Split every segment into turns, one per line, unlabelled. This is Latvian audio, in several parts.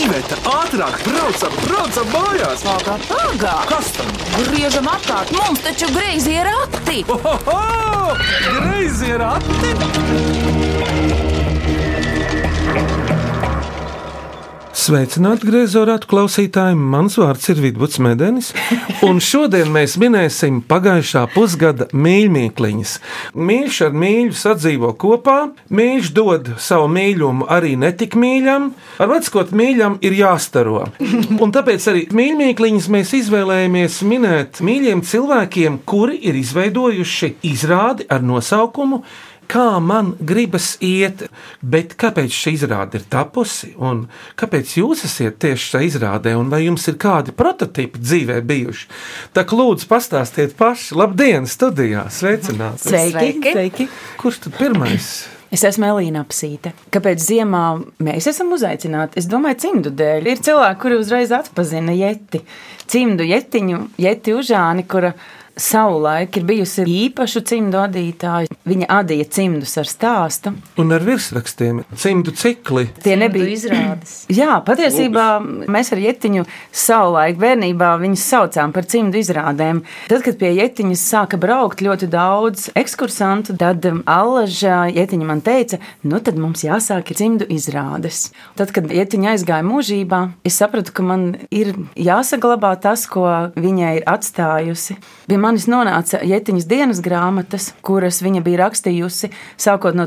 Iveta, ātrāk, braucam, braucam mājās!
Ātrāk, ātrāk!
Kas tam?
Griežam apkārt, mums taču greizi ir rati!
Oh,
Ohoho! Greizi ir atti!
Sveicināti, grazot atklausītāji! Mans vārds ir Vidvuds Medenis, un šodien mēs minēsim pagājušā pusgada mīļmīkliņas. Mīļš ar mīļu sadzīvo kopā, mīļš dod savu mīļumu arī netik mīļam, ar veckot mīļam ir jāstaro. Un tāpēc arī mīļmīkliņas mēs izvēlējāmies minēt mīļiem cilvēkiem, kuri ir izveidojuši izrādi ar nosaukumu kā man gribas iet, bet kāpēc šī izrāde ir tapusi un kāpēc jūs esat tieši šajā izrādē, un vai jums ir kādi prototipi dzīvē bijuši? Tā kā lūdzu, pastāstiet paši, labdien, studijā, sveicināti!
Sveiki! Sveiki.
Kurš tad pirmais?
Es esmu Elīna Apsīte. Kāpēc ziemā mēs esam uzaicināti? Es domāju, cimdu dēļ. Ir cilvēki, kuri uzreiz atpazina jeti. Cimdu jetiņu, jeti užāni, kura savulaik ir bijusi īpašu cimdu adītāja. Viņa adīja cimdus ar stāstu.
Un ar virsrakstiem cimdu cikli.
Tie nebija
izrādes.
Jā, patiesībā mēs ar Jētiņu savulaik bērnībā viņus saucām par cimdu izrādēm. Tad, kad pie Jētiņas sāka braukt ļoti daudz ekskursantu, tad um, Allaža Jētiņa man teica, nu tad mums jāsāk ir cimdu izrādes. Tad, kad Jētiņa aizgāja mūžībā, es sapratu, ka man ir jāsaglabā tas, ko viņa ir atstājusi. Pie manis nonāca Jētiņas dienas grāmatas, kuras viņa bija rakstījusi sākot no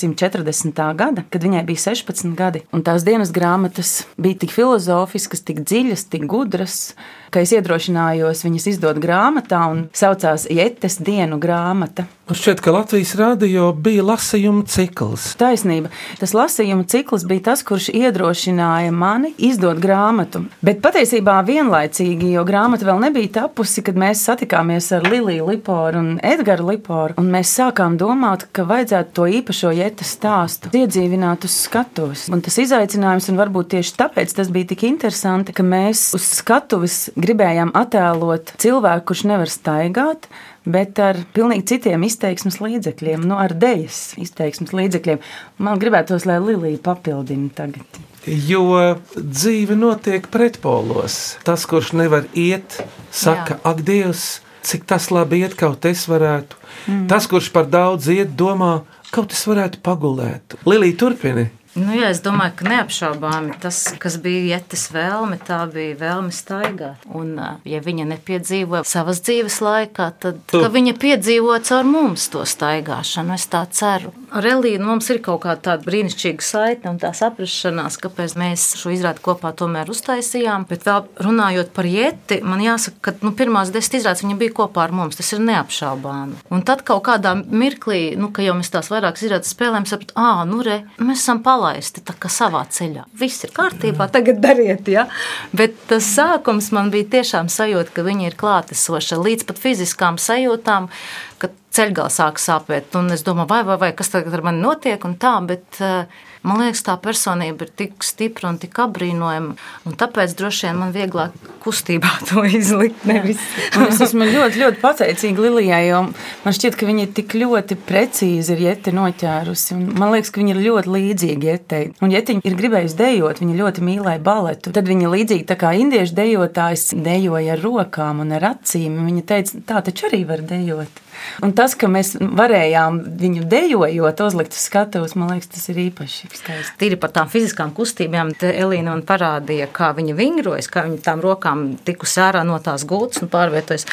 1940. gada, kad viņai bija 16 gadi. Un tās dienas grāmatas bija tik filozofiskas, tik dziļas, tik gudras, ka es iedrošinājos viņas izdot grāmatā un saucās Jētes dienu grāmata.
Man šķiet, ka Latvijas radio bija lasījuma cikls.
Taisnība. Tas lasījuma cikls bija tas, kurš iedrošināja mani izdot grāmatu. Bet patiesībā vienlaicīgi, jo grāmata vēl nebija tapusi, kad mēs satikāmies ar Liliju Liporu un Edgara Liporu, un mēs sākām domāt, ka vajadzētu to īpašo jēta stāstu iedzīvināt uz skatuves. Un tas izaicinājums, un varbūt tieši tāpēc tas bija tik interesanti, ka mēs uz skatuves gribējām attēlot cilvēku, kurš nevar staigāt, bet ar pilnīgi citiem izteiksmes līdzekļiem, nu, ar dēļas izteiksmes līdzekļiem. Man gribētos, lai Lilija papildina tagad.
Jo dzīve notiek pretpolos. Tas, kurš nevar iet, saka, ak, Dievs, cik tas labi iet, kaut es varētu. Mm. Tas, kurš par daudz iet, domā, kaut es varētu pagulēt. Lilija, turpini.
Nu, jā, es domāju, ka neapšaubāmi tas, kas bija Jēzus vēlme, tā bija vēlme staigāt. Un, ā, ja viņa nepiedzīvoja savas dzīves laikā, tad
Tu-
ka viņa piedzīvoja caur mums to staigāšanu. Es tā ceru. Ar Elīnu mums ir kaut kā tāda brīnišķīga saite un tā saprašanās, kāpēc mēs šo izrādi kopā tomēr uztaisījām. Bet vēl runājot par Jēti, man jāsaka, ka nu, pirmās desmit izrādes viņa bija kopā ar mums. Tas ir neapšaubāmi. Un tad kaut kādā mirklī, nu, ka jau mēs tās vairākas izrādes spēlējam, saprotam, ah, nu, re, mēs esam palaisti tā kā savā ceļā. Viss ir kārtībā, tagad dariet, ja. Bet tas sākums man bija tiešām sajūta, ka viņi ir klātesoši līdz pat fiziskām sajūtām. ka Ceļgā sāk sāpēt, un es domāju, vai, vai, vai kas tagad ar mani notiek, un tā, bet eh, man liekas, tā personība ir tik stipra un tik apbrīnojama, un tāpēc droši vien man vieglāk kustībā to izlikt. Nevis.
Un Es esmu ļoti, ļoti pateicīga Lilijai, jo man šķiet, ka viņa tik ļoti precīzi ir jēta noķērusi. un Man liekas, ka viņa ir ļoti līdzīga jētai. Un, ja viņa ir gribējusi dejot, viņa ļoti mīlēja baletu. Tad viņa līdzīgi tā kā indiešu dejotājs dejoja ar rokām un ar acīm. Viņa teica, tā taču arī var dejot. Un tas, ka mēs varējām viņu dejojot, uzlikt uz skatuves, man liekas, tas ir īpaši skaisti.
Tīri par tām fiziskām kustībām, te Elīna man parādīja, kā viņa vingrojas, kā viņa tām rokām tikusi ārā no tās gultas un pārvietojas.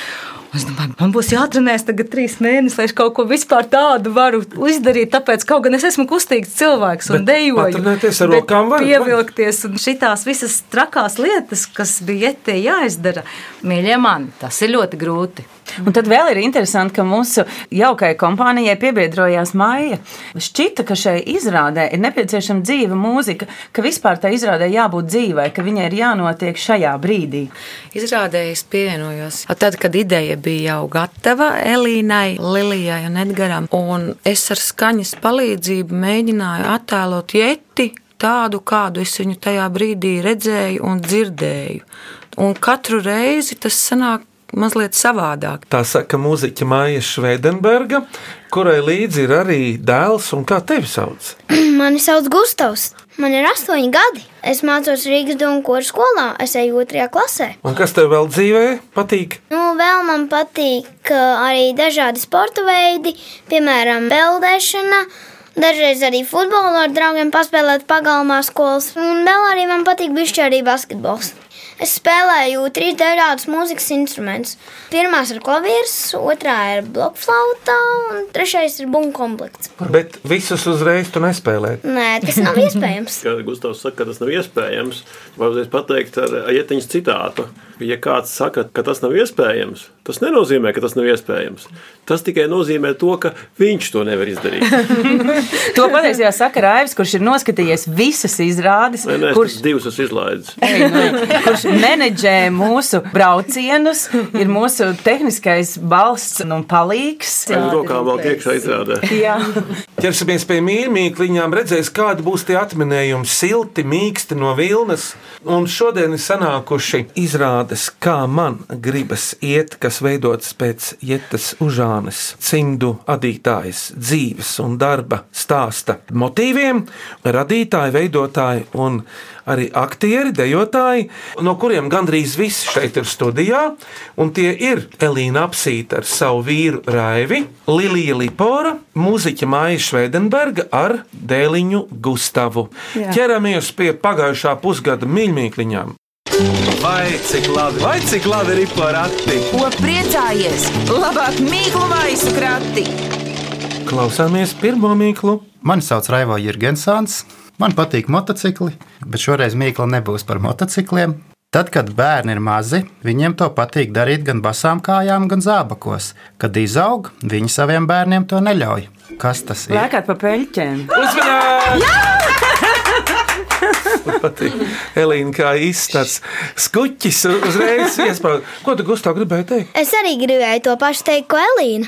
Un Es domāju, man būs jāatrenēs tagad trīs mēnešus, lai es kaut ko vispār tādu varu izdarīt. Tāpēc, kaut gan es esmu kustīgs cilvēks un
Bet
dejoju,
patrenēties ar
bet
rokām var, vai?
pievilkties un šitās visas trakās lietas, kas bija te jāizdara, mīļie mani, tas ir ļoti grūti.
Un tad vēl ir interesanti, ka mūsu jaukajai kompānijai piebiedrojās Maija. Šķita, ka šai izrādē ir nepieciešama dzīva mūzika, ka vispār tā izrādē jābūt dzīvai, ka viņai ir jānotiek šajā brīdī.
Izrādē es pievienojos. Tad, kad ideja bija jau gatava Elīnai, Lilijai un Edgaram, un es ar skaņas palīdzību mēģināju attēlot jeti tādu, kādu es viņu tajā brīdī redzēju un dzirdēju. Un katru reizi tas sanāk mazliet savādāk.
Tā saka mūziķa Māja Švedenberga, kurai līdzi ir arī dēls, un kā tevi sauc?
Mani sauc Gustavs. Man ir astoņi gadi. Es mācos Rīgas Dunkūras skolā, es eju otrajā klasē.
Un kas tev vēl dzīvē patīk?
Nu, vēl man patīk ā, arī dažādi sporta veidi, piemēram, peldēšana. Dažreiz arī futbolu ar draugiem paspēlēt pagalmā skolas, un vēl arī man patīk bišķi arī basketbols. Es spēlēju trīs dažādus mūzikas instrumentus. Pirmā ir klavieris, otrā ir blokflauta, un trešais ir bunkomplekts.
Bet visus uzreiz tu nespēlē.
Nē, tas nav iespējams.
Kā Gustavs saka, ka tas nav iespējams, var uzreiz pateikt ar ietiņas citātu. Ja kāds saka, ka tas nav iespējams, tas nenozīmē, ka tas nav iespējams. Tas tikai nozīmē to, ka viņš to nevar izdarīt.
To patiesībā saka Raivs, kurš ir noskatījies visas izrādes,
Nē, nē,
kurš
Kurš divus es izlaidu?
Ei, nu, kurš menedžē mūsu braucienus, ir mūsu tehniskais balsts un palīgs.
Ar rokām vēl iekšā izrādē.
Jā,
Ķersimies pie mīļumīkliņām, redzēs, kādi būs tie atminējumi, silti, mīksti no vilnas. Un šodien ir sanākuši izrādes, kā man gribas iet, kas veidotas pēc Jētas Užānes cimdu adītājas dzīves un darba stāsta motīviem, radītāji, veidotāji un arī aktieri, dejotāji, no kuriem gandrīz visi šeit ir studijā. Un tie ir Elīna Apsīta ar savu vīru Raivi, Lilija Lipora, mūziķa Māja Švedenberga ar dēliņu Gustavu. Jā. Ķeramies pie pagājušā pusgada mīļmīkliņām.
Vai cik labi, vai cik labi ir porati?
Ko priecājies? Labāk mīklu maisu krati.
Klausāmies pirmo mīklu.
Mani sauc Raivo Jurgensons. Man patīk motocikli, bet šoreiz mīkla nebūs par motocikliem. Tad, kad bērni ir mazi, viņiem to patīk darīt gan basām kājām, gan zābakos. Kad izaug, viņi saviem bērniem to neļauj. Kas tas ir?
lēkāt pa peļķēm.
Uzmanīgi! Elīna, kā izsmeļs, skuķis uzreiz iesprūda. Ko tu Gustav gribēji teikt?
Es arī gribēju to pašu teikt, ko Elīna.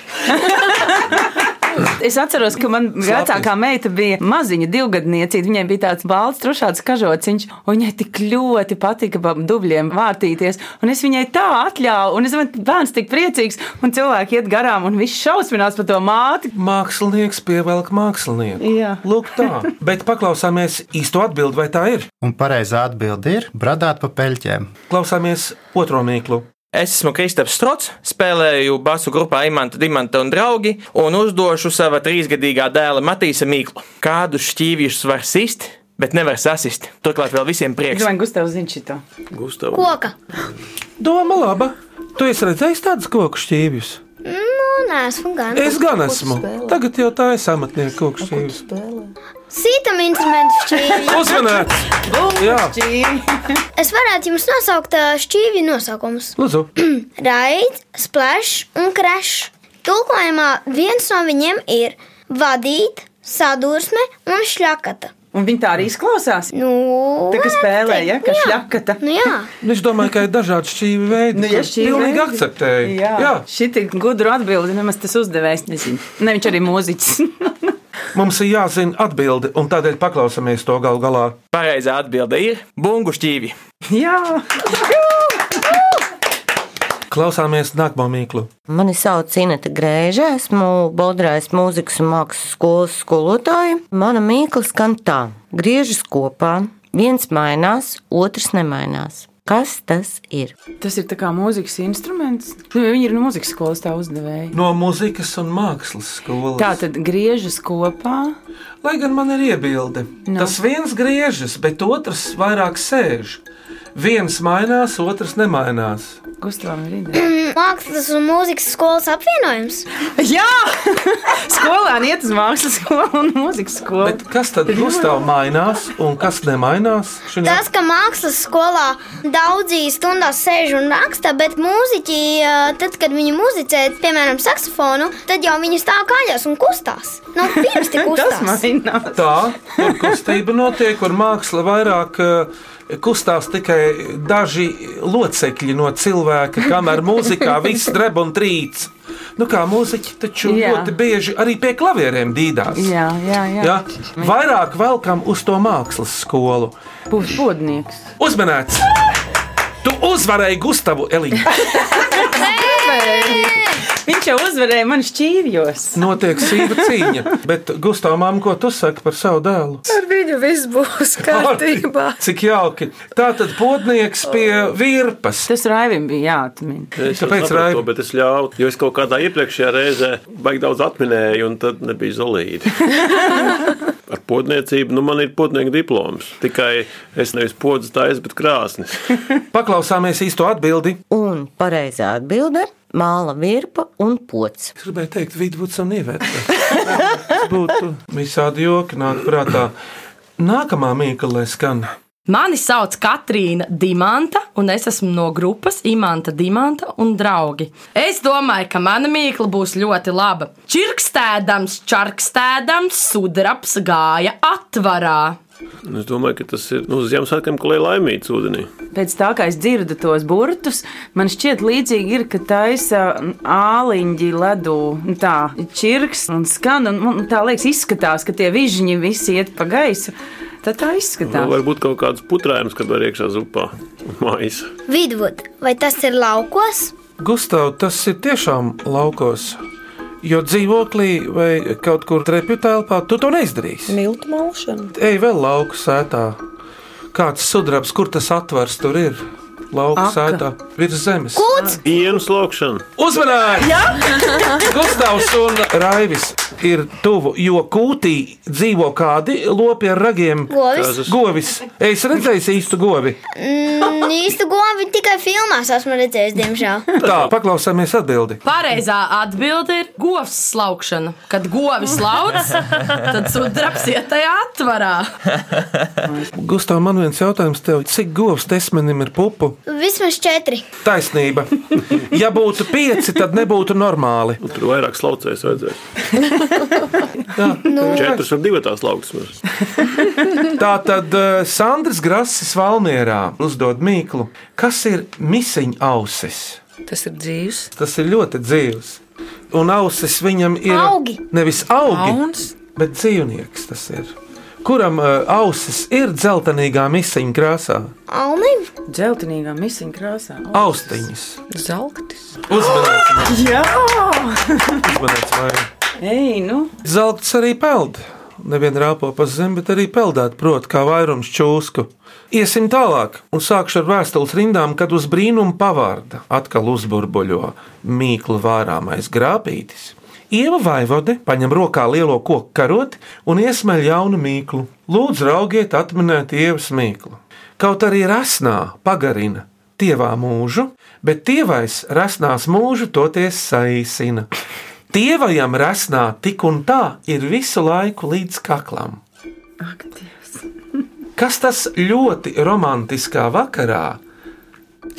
Es atceros, ka man vecākā meita bija maziņa divgadniecība. Viņai bija tāds balts, trušāds kažociņš, un viņai tik ļoti patika pa dubļiem vārtīties. Un es viņai tā atļāvu, un es domāju, bērns tik priecīgs, un cilvēki iet garām, un viss šausminās par to māti.
Mākslinieks pievelk mākslinieku.
Jā.
Lūk, tā. Bet paklausāmies īsto atbildi, vai tā ir.
Un pareizā atbilde ir bradāt pa peļķēm.
Klausāmies otro mīklu.
Es esmu Kristaps Strots, spēlēju basu grupā Imants, Dimants un draugi, un uzdošu sava trīsgadīgā dēla Matīsa Mīklu. Kādu šķīvjus var sist, bet nevar sasist. Turklāt vēl visiem
Es
prieks.
domāju, Gustavs zina šito.
Gustavs.
Koka.
Doma laba. Tu esi redzējis tādus koku šķīvjus?
Nu, nē, esmu gan.
Es gan esmu. Tagad jau tā ir amatnieku koku šķīvis.
Sītam instrumentu šķīvi.
Uzmanīts! Jā,
Es varētu jums nosaukt ā, šķīvi nosaukumus.
lūdzu.
Raids, splash un crash. Tulkojumā viens no viņiem ir vadīt, sadursme un šļakata.
Un viņi tā arī izklausās.
Nu,
Tā kā
varētu
spēlē,
teikt,
ja, ka
jā.
šļakata.
Nu, jā,
Viņš domāja, ka ir dažādi šķīvi veidi.
Nu, ja šķīvi
pilnīgi
veidi.
akceptēja.
Jā, Jā. šī ir gudra atbilde. Nemaz tas uzdevējs nezina. Ne viņš arī mūziķis.
Mums ir jāzina atbildi, un tādēļ paklausāmies to gal galā.
Pareizā atbilde ir bungu šķīvi.
Jā,
Klausāmies nākamo mīklu.
Mani sauc Inês Grēža, esmu Bodrājas mūzikas un mākslas skolas skolotāja. Mana mīkla skan tā: griežas kopā, viens mainās, otrs nemainās. Kas tas ir?
tas ir tā kā mūzikas instruments. Nu, Viņi ir no mūzikas skolas tā uzdevēji.
No mūzikas un mākslas skolas.
Tā tad griežas kopā.
Lai gan man ir iebilde, no. tas viens griežas, bet otrs vairāk sēž. Viens mainās, otrs nemainās.
Gustavam ir ideja.
Mm, mākslas un mūzikas skolas apvienojums.
Jā, skolēni iet uz mākslas skolu un mūzikas skolu.
Bet kas tad Gustav mainās un kas nemainās? Šinā...
Tas, ka mākslas skolā daudzi stundās sēž un raksta, bet mūziķi, ā, tad, kad viņi muzicē, piemēram, saksofonu, tad jau viņi stāv kājās un kustās. Nu, pirms tik
tas
kustās.
mainās.
Tā, kur kustība notiek, kur māksla vairāk eh, kustās tikai daži locekļi no cilvēka, kamēr mūzikā viss dreb un trīc. Nu, kā mūziķi taču Jā.
Jā.
ļoti bieži arī pie klavieriem dīdās.
Jā, jā, jā.
Ja? Vairāk velkam uz to mākslas skolu.
Būs podnieks.
Uzmanīts! Tu uzvarēji Gustavu Elīdu.
Viņš jau uzvarēja man šķīvjos.
Notiek sīva cīņa. Bet, Gustav, mām, ko tu saki par savu dēlu?
Ar viņu viss būs kārtībā. Oh.
Cik jauki. Tā tad potnieks pie virpas.
Tas Raivim bija jāatmin.
Es jau
Tāpēc,
sapratu,
Raivi-
to, bet es ļāvu, jo es kaut kādā iepriekšējā reizē baigi daudz atminēju, un tad nebija zolīti. Ar potniecību, nu, man ir potnieka diploms. Tikai es nevis podzes taisu, bet krāsnis.
Paklausāmies īsto atbildi.
Un pareizā atbilde - māla virpa un pots.
Es gribēju teikt, vidus un ievērta. Tas būtu visādi joki nāk prātā. Nākamā mīkla, lai skan.
Mani sauc Katrīna Dimanta, un es esmu no grupas Imanta, Dimanta un draugi. Es domāju, ka mana mīkla būs ļoti laba. Čirkstēdams, čarkstēdams, sudraps gāja atvarā.
Un Es domāju, ka tas ir nu, uz Ziemassvētkiem, ka lai laimīts ūdenī.
Pēc tā, kā es dzirdu tos burtus, man šķiet, līdzīgi ir, ka taisa āliņģi ledū, nu tā čirks un skan, un man tā liekas, izskatās, ka tie vižiņi visi iet pa gaisu. Tad tā
Tā.
Nu,
izskatās.
Varbūt kaut kāds putrājums, kad var iekšā zupā. Mājas.
Vidvud, vai tas ir laukos?
Gustav, tas ir tiešām laukos. Jo dzīvoklī vai kaut kur trepju telpā tu to neizdarīsi.
Miltu malšana.
Ej vēl lauku sētā. Kāds sudrabs, kur tas atvers, tur ir lauku
Aka.
sētā virs zemes.
Kūts,
Ienas laukšana.
Uzmanīgi! Jā, Gustavs un Raivis ir tuvu, jo kūtī dzīvo kādi lopi ar ragiem.
govis.
Kāzas.
Govis. Es redzēju īstu govi.
Mm, īsti govi tikai filmās esmu redzējis, diemžēl.
Tā, paklausāmies atbildi.
Pareizā atbilde ir govs slaukšana. Kad govis lauc, tad sudraps iet tajā atvarā.
Gustav, man viens jautājums tev. Cik govs desmenim ir pupu?
Vismaz četri.
Taisnība. Ja būtu pieci, tad nebūtu normāli.
Nu, Tur vairāk slaucējas vajadzēs.
Jā.
Nu,
Četras un divas tās lauksmas.
Tā tad eh, Sandrs Grasis Valmierā uzdod mīklu. Kas ir misiņa ausis?
Tas ir dzīves.
Tas ir ļoti dzīves. Un ausis viņam ir
Augi.
nevis augi,
Auns.
bet dzīvnieks tas ir. Kuram uh, ausis ir dzeltenīgā misiņa krāsā?
Alnim?
Dzeltenīgā misiņa krāsā.
Austiņas.
Zeltis.
Uzmanīts,
Jā,
uzmanīts vai.
ej, nu.
Zelts arī peld. Nevienu rāpo pa zemi, bet arī peldēt prot, kā vairums čūsku. Iesim tālāk, un sākšu ar vēstules rindām, kad uz brīnumu pavārda atkal uzburbuļo mīklu vārāmais grāpītis. Ieva Vaivode paņem rokā lielo koku karoti un iesmeļ jaunu mīklu. Lūdzu, raugiet, atminiet ievas mīklu. Kaut arī rasnā pagarina tievā mūžu, bet tievais rasnās mūžu toties saīsina. Tievajam rasnā tik un tā ir visu laiku līdz kaklam. Kas tas ļoti romantiskā vakarā?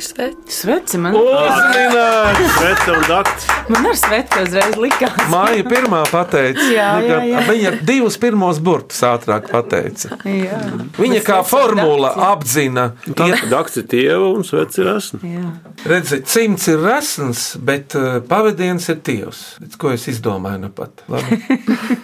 Sveiks.
Sveci man,
Oh!
Uzminēts! Svece un dakts!
man ar sveci uzreiz likās.
Māja pirmā pateica, nu,
Jā, jā, jā.
viņa divus pirmos burtus ātrāk pateica.
Jā.
Viņa kā formula apzina, ka
Dakts ir tieva un svece ir esna.
Jā.
redzi, cimds ir rasns, bet eh, pavadiens ir tievs. Redz, Ko es izdomāju nu pat? Labi.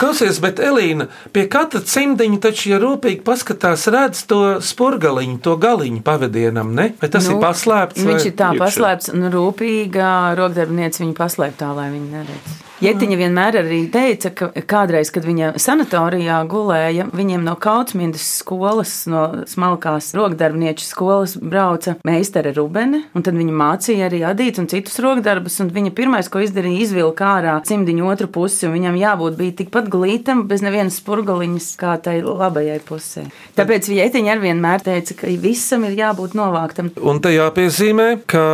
Klausies, bet Elīna, pie katra cimdiņa taču, ja rūpīgi paskatās, redz to spurgaliņu, to galiņu pavadienam, ne? Vai tas nu, ir paslēpts? vai-
Viņš ir tā
iekšā?
paslēpts un rūpīga rokdarbniece viņu paslēp tā, lai viņi neredz. Jetiņa vienmēr arī teica, ka kādreiz, kad viņa sanatorijā gulēja, viņiem no Kautsmindas skolas, no smalkās rokdarbnieču skolas brauca meistara Rubene, un tad viņa mācīja arī adīt un citus rokdarbus, un viņa pirmais, ko izdarīja, izvilka ārā cimdiņu otru pusi, un viņam jābūt bija tikpat glītam, bez nevienas spurgaliņas, kā tai labajai pusē. Tāpēc Jetiņa arī vienmēr teica, ka visam ir jābūt novāktam
Un te jāpiezīmē, ka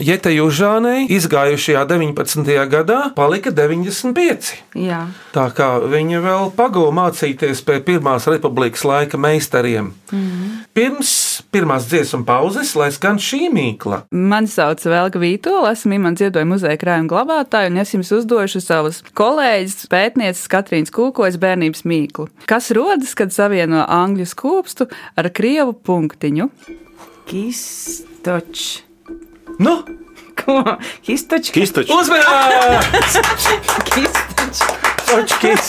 Jēta Južānai izgājušajā 19. gadā palika 95.
Jā,
Tā kā viņa vēl pagūda mācīties pie Pirmās republikas laika meistariem. Mm -hmm.
Mhm.
Pirms pirmās dziesmu pauzes, lai skan šī mīkla,
Mani sauc Vēlka Vītola, esmu Imants Ziedoņa muzeja krājuma glabātāja, un es jums uzdošu savus kolēģus, pētnieces Katrīnas Kūkojas bērnības mīklu, kas rodas, kad savieno angļu skūpstu ar krievu punktiņu.
kistoč.
nu,
Ko? Kistoč,
Kistačs!
uzmanīgi!
kistoč.
Očkis.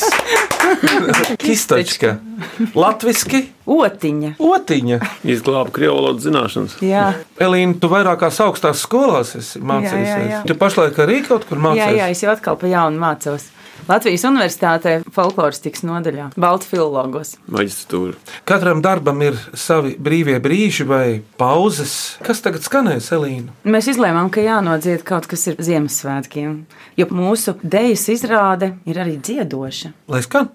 Kistačka. Latviski.
Otiņa.
Otiņa.
Izglāba krievu valodas zināšanas.
Jā.
Elīna, tu vairākās augstās skolās esi
Jā, jā,
mācījusies.
jā.
Tu pašlaik arī kaut kur
Jā, jā,
mācījies.
es jau atkal pa jaunu mācos. Latvijas Universitātē folkloristikas nodaļā, Baltu filologos.
Maģistratūra.
Katram darbam ir savi brīvie brīži vai pauzes. Kas tagad skanēs, Elīna?
Mēs izlēmām, ka jānodzied kaut kas ir Ziemassvētkiem, jo mūsu dejas izrāde ir arī dziedoša.
Lai skan!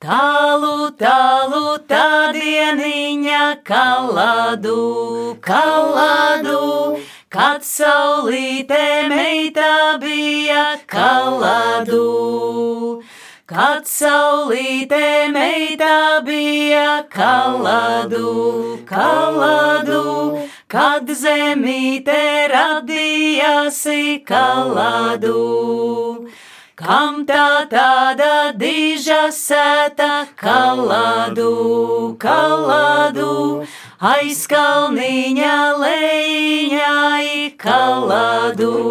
Tālu, tālu, tā dieniņa kaladu, kaladu, kad saulītē meitā bija kaladu. Kad saulītē meitā bija kaladu, kaladu, kad zemītē radījāsi kaladu. Kam tā tāda diža sēta, kaladu, kaladu, aiz kalniņa lejiņā, i kaladu.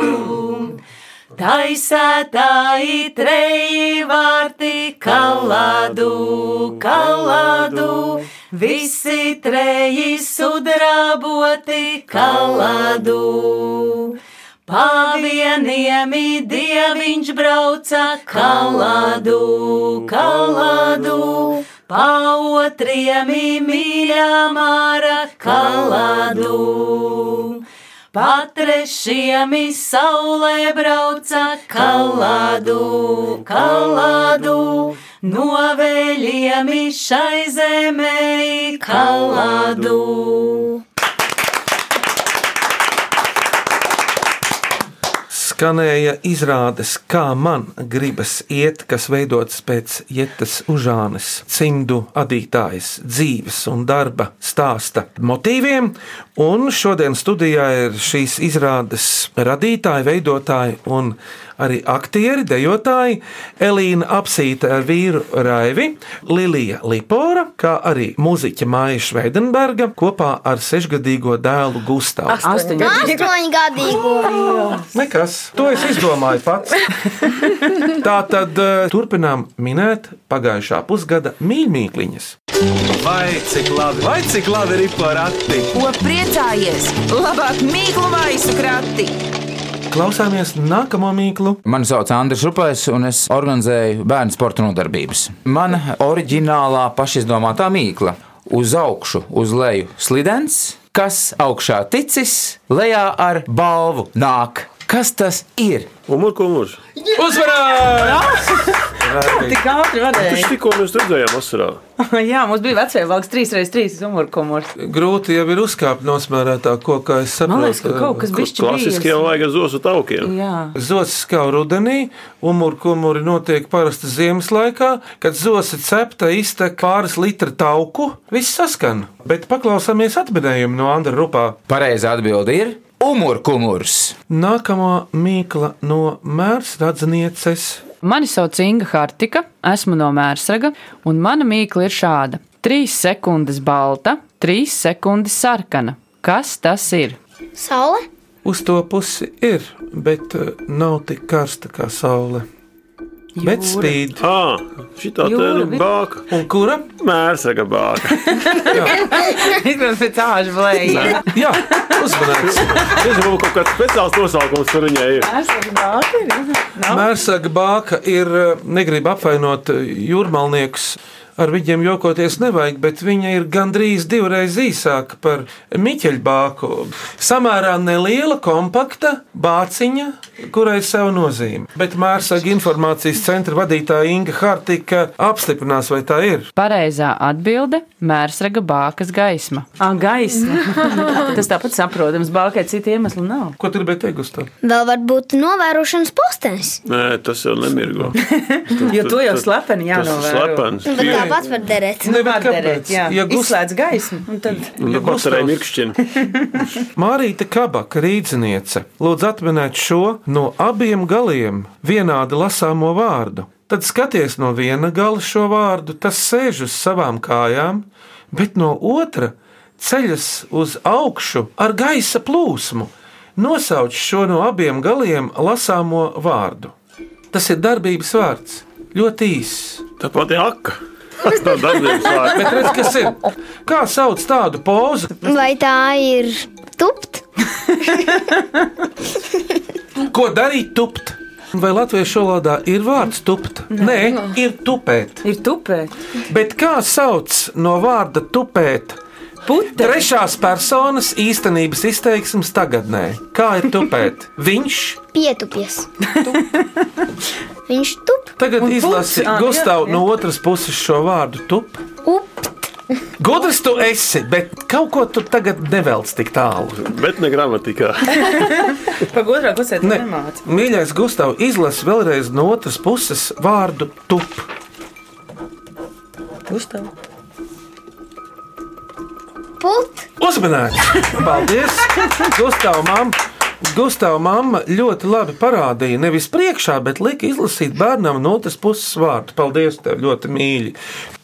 Taisētā i treji vārti, kaladu, kaladu, visi treji sudraboti, kaladu. Pavieniem i dieviņš brauca kaladu, kaladu, pa otriem i mīļā māra kaladu. Pa trešiem i saulē brauca kaladu, kaladu, no vēļiem i šai zemē i kaladu.
Skanēja izrādes, kā man gribas iet, kas veidots pēc Jētas Užānes, cimdu adītājas dzīves un darba stāsta motīviem. Un šodien studijā ir šīs izrādes radītāji, veidotāji un arī aktieri, dejotāji Elīna Apsīta ar vīru Raivi, Lilija Lipora, kā arī mūziķa Māja Šveidenberga kopā ar sešgadīgo dēlu Gustavu.
Astoņu gadīgo.
Nekas. To es izdomāju pats. Tā tad eh, turpinām minēt pagājušā pusgada mīļmīkliņas.
Vai cik labi, vai cik labi ir porakti?
Ko priecājies? Labāk mīklu maisu krati.
Klausāmies nākamo mīklu.
Mani sauc Andris Rupais, un es organizēju bērnu sporta nodarbības. Mana oriģinālā pašizdomātā mīkla - uz augšu, uz leju slidens, kas augšā ticis, lejā ar balvu nāk. Kas tas ir?
Umur, kumurs!
Uzvarēja! Tik ātri
Tas
vadīja.
tikko mēs redzējām vasarā.
Jā, mums bija vecais valks 3x3 umurkumurs.
Grūti jau ir uzkāpt no smērētā kokā. Es saprotu,
Man liekas, ka kaut kas bišķi bija.
Klasiskiem vajag ar zosu taukiem.
Jā.
Zosis kā rudenī, umurkumuri notiek parasti ziemas laikā, kad zosis cepta iztek pāris litru tauku, viss saskan. Bet paklausāmies atminējumu no Andra Rupā.
Pareizā atbilde ir umurkumurs.
Nākamā mīkla no mērs radznieces.
Mani sauc Inga Hartika, esmu no Mērsraga, un mana mīkla ir šāda: 3 sekundes balta, 3 sekundes sarkana. Kas tas ir?
Saule?
Uz to pusi ir, bet eh, nav tik karsta kā saule. Bet spīd.
Ah, šī tā ir
Jūra.
bāka.
Un kura?
Mērsaga bāka.
Izmēs pēc āžu blēja.
Jā, uzmanīgs.
Es domāju, ka kaut kāds speciāls nosaukums par viņai ir.
Esmu nākamais.
Mērsāga bāka ir, eh, negribu apvainot eh, jūrmalniekus. Ar viņiem jokoties nevajag, bet viņa ir gandrīz divreiz īsāka par miķeļbāku. Samērā neliela, kompakta bāciņa, kurai sev nozīme. Bet Mārsaga informācijas centra vadītāja Inga Hartika apstiprinās, vai tā ir.
Pareizā atbilde - Mērsraga bākas gaisma.
Ah, gaisma. Tas tāpat saprotams, bākai citu iemeslu nav.
Ko tu gribēji teikt uz to?
Vēl var būt novērošanas postenis.
Nē, tas jau nemirgo.
Jo to jau slepeni
Tas ir
jānovēro.
slepens.
Nu, Bet tāpat var derēt.
Nu, var derēt,
kāpēc?
jā.
Ja gust-
Izslēdz gaismu, un tad
Nu, Baterija mirkšķina.
Mārīte Kabaka, rīzniece, lūdzu atminēt šo no abiem galiem vienādi lasāmo vārdu. Tad skaties no viena gala šo vārdu, tas sēž uz savām kājām, bet no otra ceļas uz augšu ar gaisa plūsmu. Nosauc šo no abiem galiem lasāmo vārdu. Tas ir darbības vārds. Ļoti īss.
Tā pati akka. Tā darbības
Bet
vārds.
redz, kas ir? Kā sauc tādu pozu?
Vai tā ir tupt?
Ko darīt tupt? Vai latviešu valodā ir vārds tupt? Nē, ir tupēt.
Ir tupēt.
Bet kā sauc no vārda tupēt? Pute. Trešās personas īstenības izteiksmes tagadnē. Kā ir tupēt? Viņš
Pietupjas. Viņš tup.
tagad izlasi
puts, ā,
Gustavu
jā, jā.
no otras puses šo vārdu tup. Gudrs tu esi, bet kaut ko tu tagad nevelc tik tālu.
Bet ne gramatikā.
Pagodrāk, ko sēž
Ne. Mīļais Gustav, izlasi vēlreiz no otras puses vārdu tup.
Gustav.
Pult.
Uzmanīgi! Paldies! Gustav, mam! Gustav, mamma ļoti labi parādīja, nevis priekšā, bet lika izlasīt bērnam no otras puses vārdu. Paldies, tev ļoti mīļi!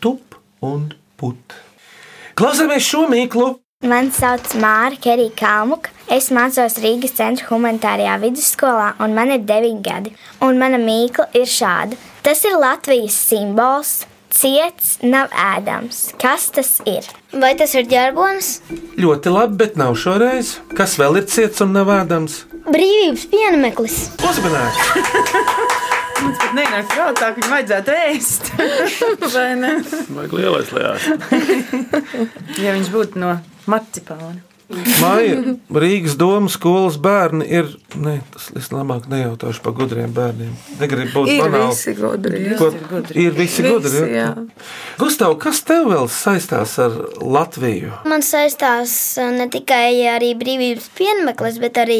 Tup un put! Klausāmies šo mīklu!
Mani sauc Māra Kerija Kalmuka. Es mācos Rīgas centra humanitārajā vidusskolā, un man ir 9 gadi. Un mana mīkla ir šāda. Tas ir Latvijas simbols. Ciets nav ēdams. Kas tas ir?
Vai tas ir ģērbonis?
Ļoti labi, bet nav šoreiz. Kas vēl ir ciets un nevēdams?
Brīvības pienemeklis.
Uzmanīgi!
Mums pat nenāk prātā, ka viņu vajadzētu ēst. Vai ne?
Vajag lielais lējās.
Ja viņš būtu no marcipāna.
Māja, Rīgas domas skolas bērni ir. Nē, tas es labāk nejautāšu par gudriem bērniem. Negribu būt
Ir
banāli.
visi gudri, jā.
Ko,
Visi ir gudri.
ir visi
Visi,
gudri. jā.
jā.
Gustav, kas tev vēl saistās ar Latviju?
Man saistās eh, ne tikai arī brīvības piemineklis, bet arī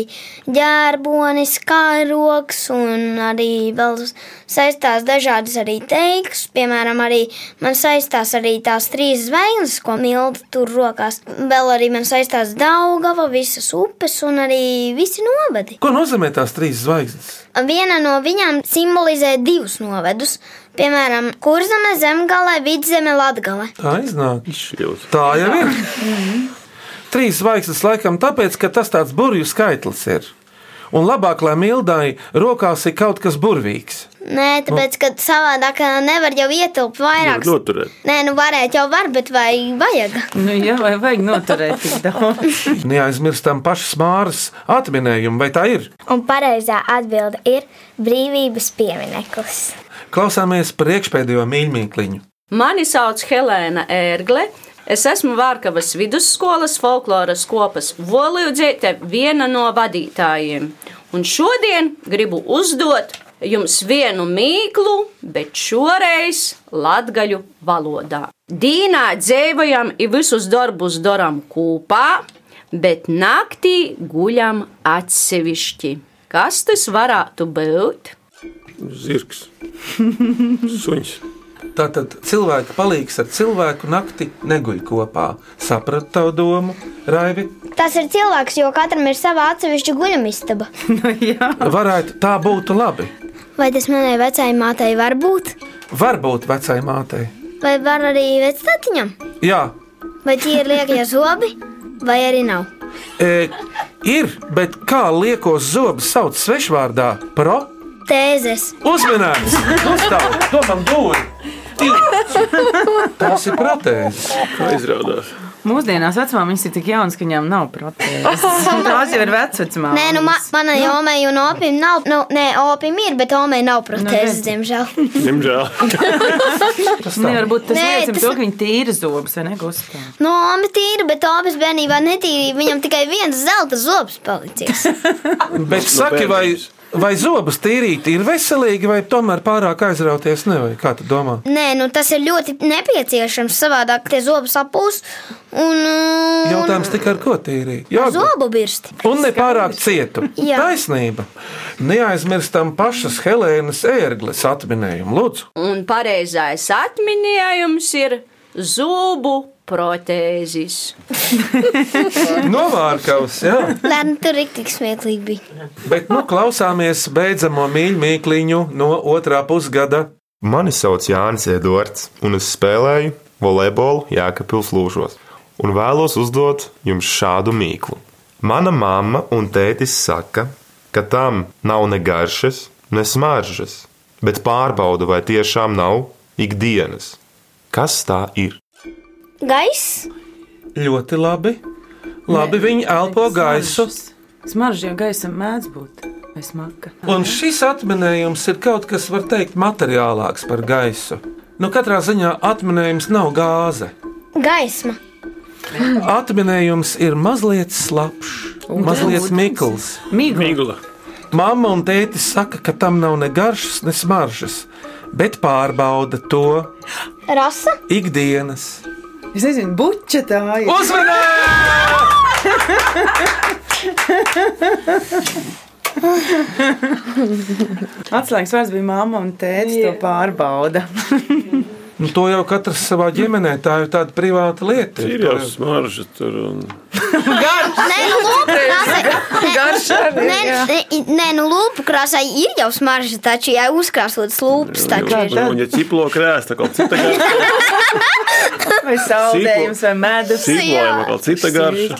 ģērbonis, kāroks un arī vēl saistās dažādas arī teiksmes. Piemēram, arī man saistās arī tās trīs zvaigznes, ko milda tur rokās. Vēl arī man saistās Daugava, visas upes un arī visi novadi.
Ko nozīmē tās trīs zvaigznes?
Viena no viņām simbolizē divus novedus, piemēram, kurzeme, zemgale, vidzeme, latgale.
Tā iznāk. Tā jau ir. Trīs zvaigznes laikam tāpēc, ka tas tāds burvju skaitlis ir. Un labāk, lai mildai rokās ir kaut kas burvīgs.
Nē, tāpēc, ka savādāk eh, nevar jau ietilpt vairāk.
Noturēt.
Nē, nu varētu jau var, bet vai vajag?
Nu, jā, vai vajag noturēt tik daudz?
Neaizmirstam pašas māras atminējumu, vai tā ir?
Un pareizā atbilde ir brīvības piemineklis.
Klausāmies priekšpēdējo mīļmīkliņu.
Mani sauc Helēna Ērgle. Es esmu Vārkavas vidusskolas folkloras kopas volīdzīte, viena no vadītājiem. Un šodien gribu uzdot jums vienu mīklu, bet šoreiz latgaļu valodā. Dīnā dzēvojam i visus darbus doram kopā, bet naktī guļam atsevišķi. Kas tas varētu būt?
Zirgs. Suņš.
Tātad cilvēki palīgs ar cilvēku naktī neguļ kopā. Sapratu tavu domu, Raivi.
Tas ir cilvēks, jo katram ir sava atsevišķa guļamistaba.
Varētu tā būt labi.
Vai tas manai vecajai mātei var būt?
Varbūt vecai mātei.
Vai var arī vecātiņam?
Jā,
Vai tie ir liekie zobi, vai arī nav?
e, ir, bet kā liekos zobus sauc svešvārdā pro?
Tēzes.
Uzmanības! Uzstāv! Domam, dūri! Tās ir protēzes.
Kā izrādās?
Mūsdienās vecmāmiņas ir tik jaunas, ka viņām nav protēzes. Tās jau ir vecmāmiņas.
Nē, nu, ma manai
Nu.
omei un opim nav, nu, nē, opim ir, bet omei nav protēzes,
redzi.
diemžēl.
Diemžēl.
Tas nevar būt tas
Nē,
liecina
tas-
to, ka viņi tīra zobus, vai ne, Gustav?
No omas tīra, Nu, bet omas bērnībā netīra. Viņam tikai viens zelta zobs palicis.
Bet saki, vai, vai zobus tīrīt ir veselīgi, vai tomēr pārāk aizrauties nevajag? Kā tu domā?
Nē, nu tas ir ļoti nepieciešams. Savādāk tie zobi sapūs. Un, uh, un
Jautājums tikai ar ko tīrīt?
ar
Jāguļ.
zobu birsti.
Un ne pārāk cietu.
Jā.
Taisnība. Neaizmirstam pašas Helēnas ērgles atminējumu. Lūdzu,
Un pareizais atminējums ir zubu protēzis.
novārkaus, jā.
Lai nu tur ir tik smieklīgi bija.
Bet nu klausāmies beidzamo mīļmīkliņu no otrā pusgada.
Mani sauc Jānis Edvards, un es spēlēju volejbolu Jēkabūras lūžos. Un vēlos uzdot jums šādu mīklu. Mana mamma un tētis saka, ka tam nav ne garšas, ne smaržas,
bet pārbaudu, vai tiešām nav ikdienas. Kas tā ir?
Gaiss,
Ļoti labi. Labi, viņi elpo gaisu.
Smaržs jau gaisam mēdz būt. Vai smaka?
Un šis atminējums ir kaut kas, var teikt, materiālāks par gaisu. Nu, katrā ziņā atminējums nav gāze.
gaisma,
Atminējums ir mazliet slapjš, mazliet mikls.
Migla.
Mama un tētis saka, ka tam nav ne garšas, ne smaržas, bet pārbauda to
rasa,
ikdienas.
Es nezinu, buča tā ir. Atslēgas vārds bija mamma un tēvs to pārbauda.
Nu, to jau katrs savā ģimenē, tā jau tāda privāta lieta.
Ir jau smarža tur un
Nē, nu, lūpu krāsai. nu,
Garš arī,
Nē,
jā.
nē, nē, nu, lūpu krāsai ir jau smarža, taču, ja uzkrāsotas lūpas, taču
Un, un,
ir.
ja ciplo krēsta, kaut cita garša.
Vai saldējums, vai medus.
Ciplojuma kaut cita garša.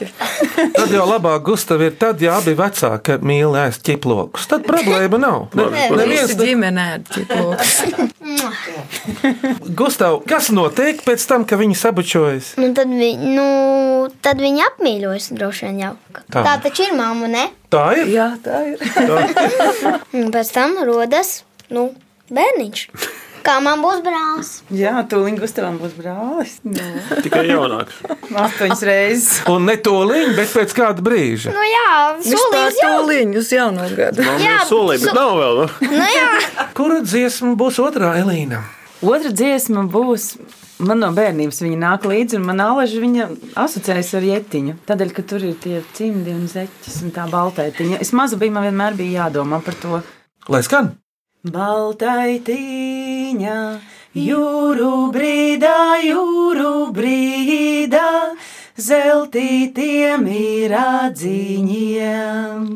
Tad jau labāk Gustav ir tad, ja abi vecāki mīl ēst ķiplokus. Tad problēma nav. Ne,
Neviens
neviens
ģimenē ar ķiploks.
Gustav, kas notiek pēc tam, kad viņi sabučojas?
Nu, tad, vi, nu, tad viņi apmīļojas droši vien jau.
Tā.
Tā, tā taču ir mamma, ne?
Tā ir.
Jā, tā ir. Un pēc tam rodas nu, bērniņš. Kā man būs brālis?
Jā, tūlīt Gustavam būs brālis. Nu,
Tikai jaunāks.
Astoņas reizes.
Un ne to līniju, bet pēc kāda brīža.
Nu, jā, solījis jau.
Tūliņ uz jauno gadu.
Mamma ir solījuma, bet nav vēl. Nu?
Nu, jā.
Kura dziesma būs otrā Elīna?
Otra dziesma būs. Man no bērnības viņa nāk līdzi, un manā alaža viņa asociējas ar jetiņu. Tādēļ, ka tur ir tie cimdi un zeķis un tā baltaitiņa. Es mazu biju, man vienmēr bija jādomā par to.
Lai skan!
Baltaitiņa, jūru brīdā, jūru brīdā, zeltītiem ir atziņiem.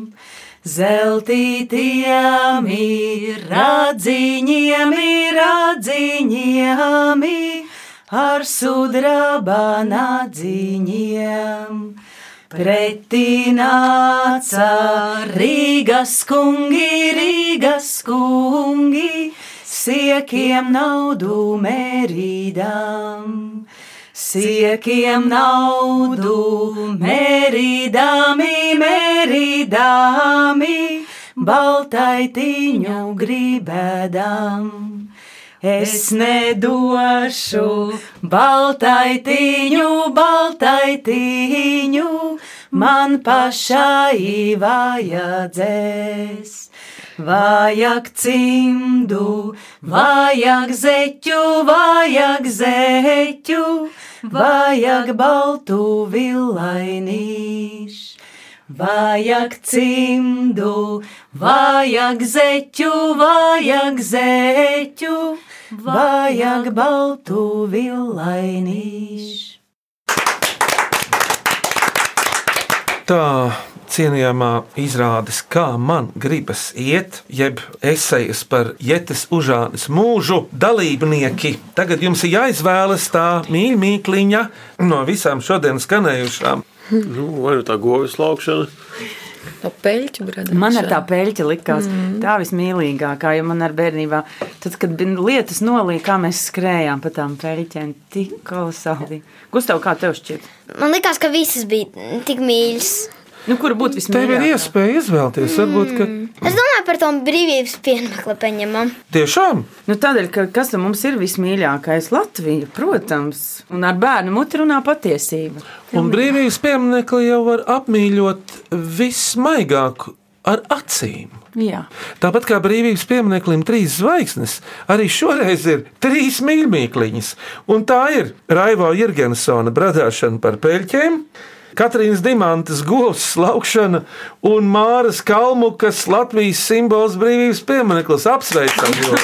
Zeltītiem ir atziņiem, ir atziņiem, ar sudraba nadziņiem. Pretī nāca Rīgas kungi, Rīgas kungi, siekiem naudu merīdām. Siekiem naudu merīdami, merīdami, baltaitiņu gribēdām. Es nedošu baltaitiņu, baltaitiņu, man pašai vajadzēs. Vajag cimdu, vajag zeķu, vajag zeķu, vajag baltu villainīšu. Vajag cimdu, vajag zeķu, vajag zeķu, vajag baltu villainīšu.
Tā cienījamā izrādes, kā man gribas iet, jeb esejas par Jēzus Užānes mūžu dalībnieki. Tagad jums ir jāizvēlas tā mīļmīkliņa no visām šodien skanējušām.
Nu, vai nu tā govis laukšana?
No peļķu brada.
Man ar tā peļķa likās mm. tā vismīlīgākā, jo man ar bērnībā, tad, kad bija lietas nolīja, kā mēs skrējām pa tām peļķēm, tik kolosāli. Gustav, kā tev šķiet?
Man liekas, ka visas bija tik mīļas.
Nu, kur būtu
Tev ir
vismīļākā?
iespēja izvēlēties, varbūt, ka
Es domāju par tom brīvības pienākumu, mam.
tiešām
Nu, tādēļ, ka kas tam mums ir vismīļākais? Latvija, protams, un ar bērnu muti runā patiesība.
un brīvības pieminiekli jau var apmīļot vismaigāku ar acīm.
Jā.
Tāpat kā brīvības piemineklim trīs zvaigznes, arī šoreiz ir trīs mīļmīkliņas. Un tā ir Raivo Irgensona bradāšana par peļķiem. Katrīnas Dimantas govs slaukšana un Māras Kalmukas Latvijas simbols brīvības piemineklis apsveicam jūs!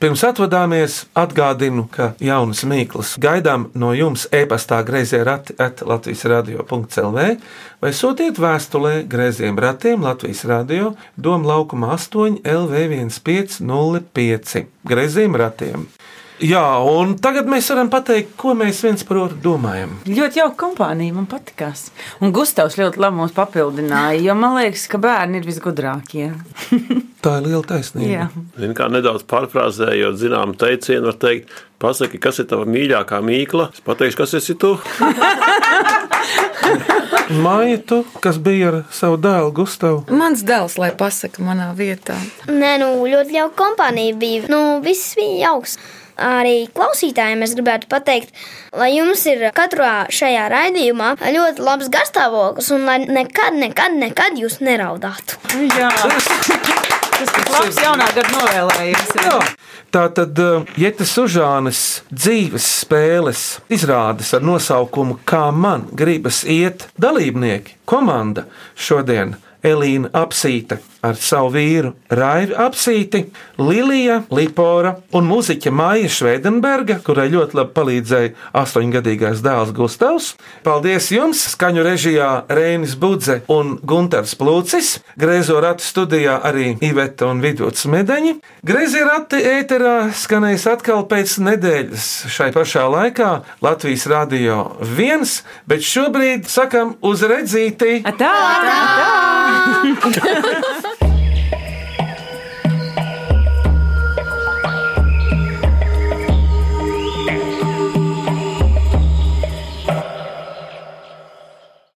Pirms atvadāmies, atgādinu, ka jaunas mīklas gaidām no jums e-pastā grazījā rati at Latvijas radio.clv vai sūtiet vēstulē grazījiem ratiem Latvijas radio Doma laukuma 8 LV1505 grazījiem ratiem. Jā, un tagad mēs varam pateikt, ko mēs viens par otru domājam.
Ļoti jauka kompānija, man patīkās. Un Gustavs ļoti labi mūs papildināja, jo man liekas, ka bērni ir visgudrākie.
Tā ir liela taisnība.
Jā.
Zin, kā nedaudz pārfrāzējot, zinām, teicienu var teikt, pasaki, kas ir tava mīļākā mīkla. Es pateikšu, kas esi tu.
Maitu, kas bija ar savu dēlu Gustavu.
Mans dēls, lai pasakā manā vietā.
Nē, nu, ļoti jauka kompānija bija. Nu, viss bija jauks. Arī klausītājiem es gribētu pateikt, lai jums ir katrā šajā raidījumā ļoti labs garstāvoklis un lai nekad, nekad, nekad jūs neraudātu.
Jā, tas ir labs jaunā gada novēlējums. Jā.
Tā tad Jēkabas Užānas eh, dzīves spēles izrādes ar nosaukumu Kā man gribas iet, dalībnieki, komanda šodien. Elīna apsīta ar savu vīru Raivu apsīti, Lilija Lipora un mūziķa Māja Švedenberga, kurai ļoti labi palīdzēja astoņgadīgais dēls Gustavs. Paldies jums! Skaņu režijā Rēnis Budze un Gunters Plūcis, grēzo ratu studijā arī Iveta un Vidvuds Medeņi. Grēzi rati ēterā skanēs atkal pēc nedēļas šai pašā laikā Latvijas radio viens, bet šobrīd sakam uz redzīti!
Tā! tā.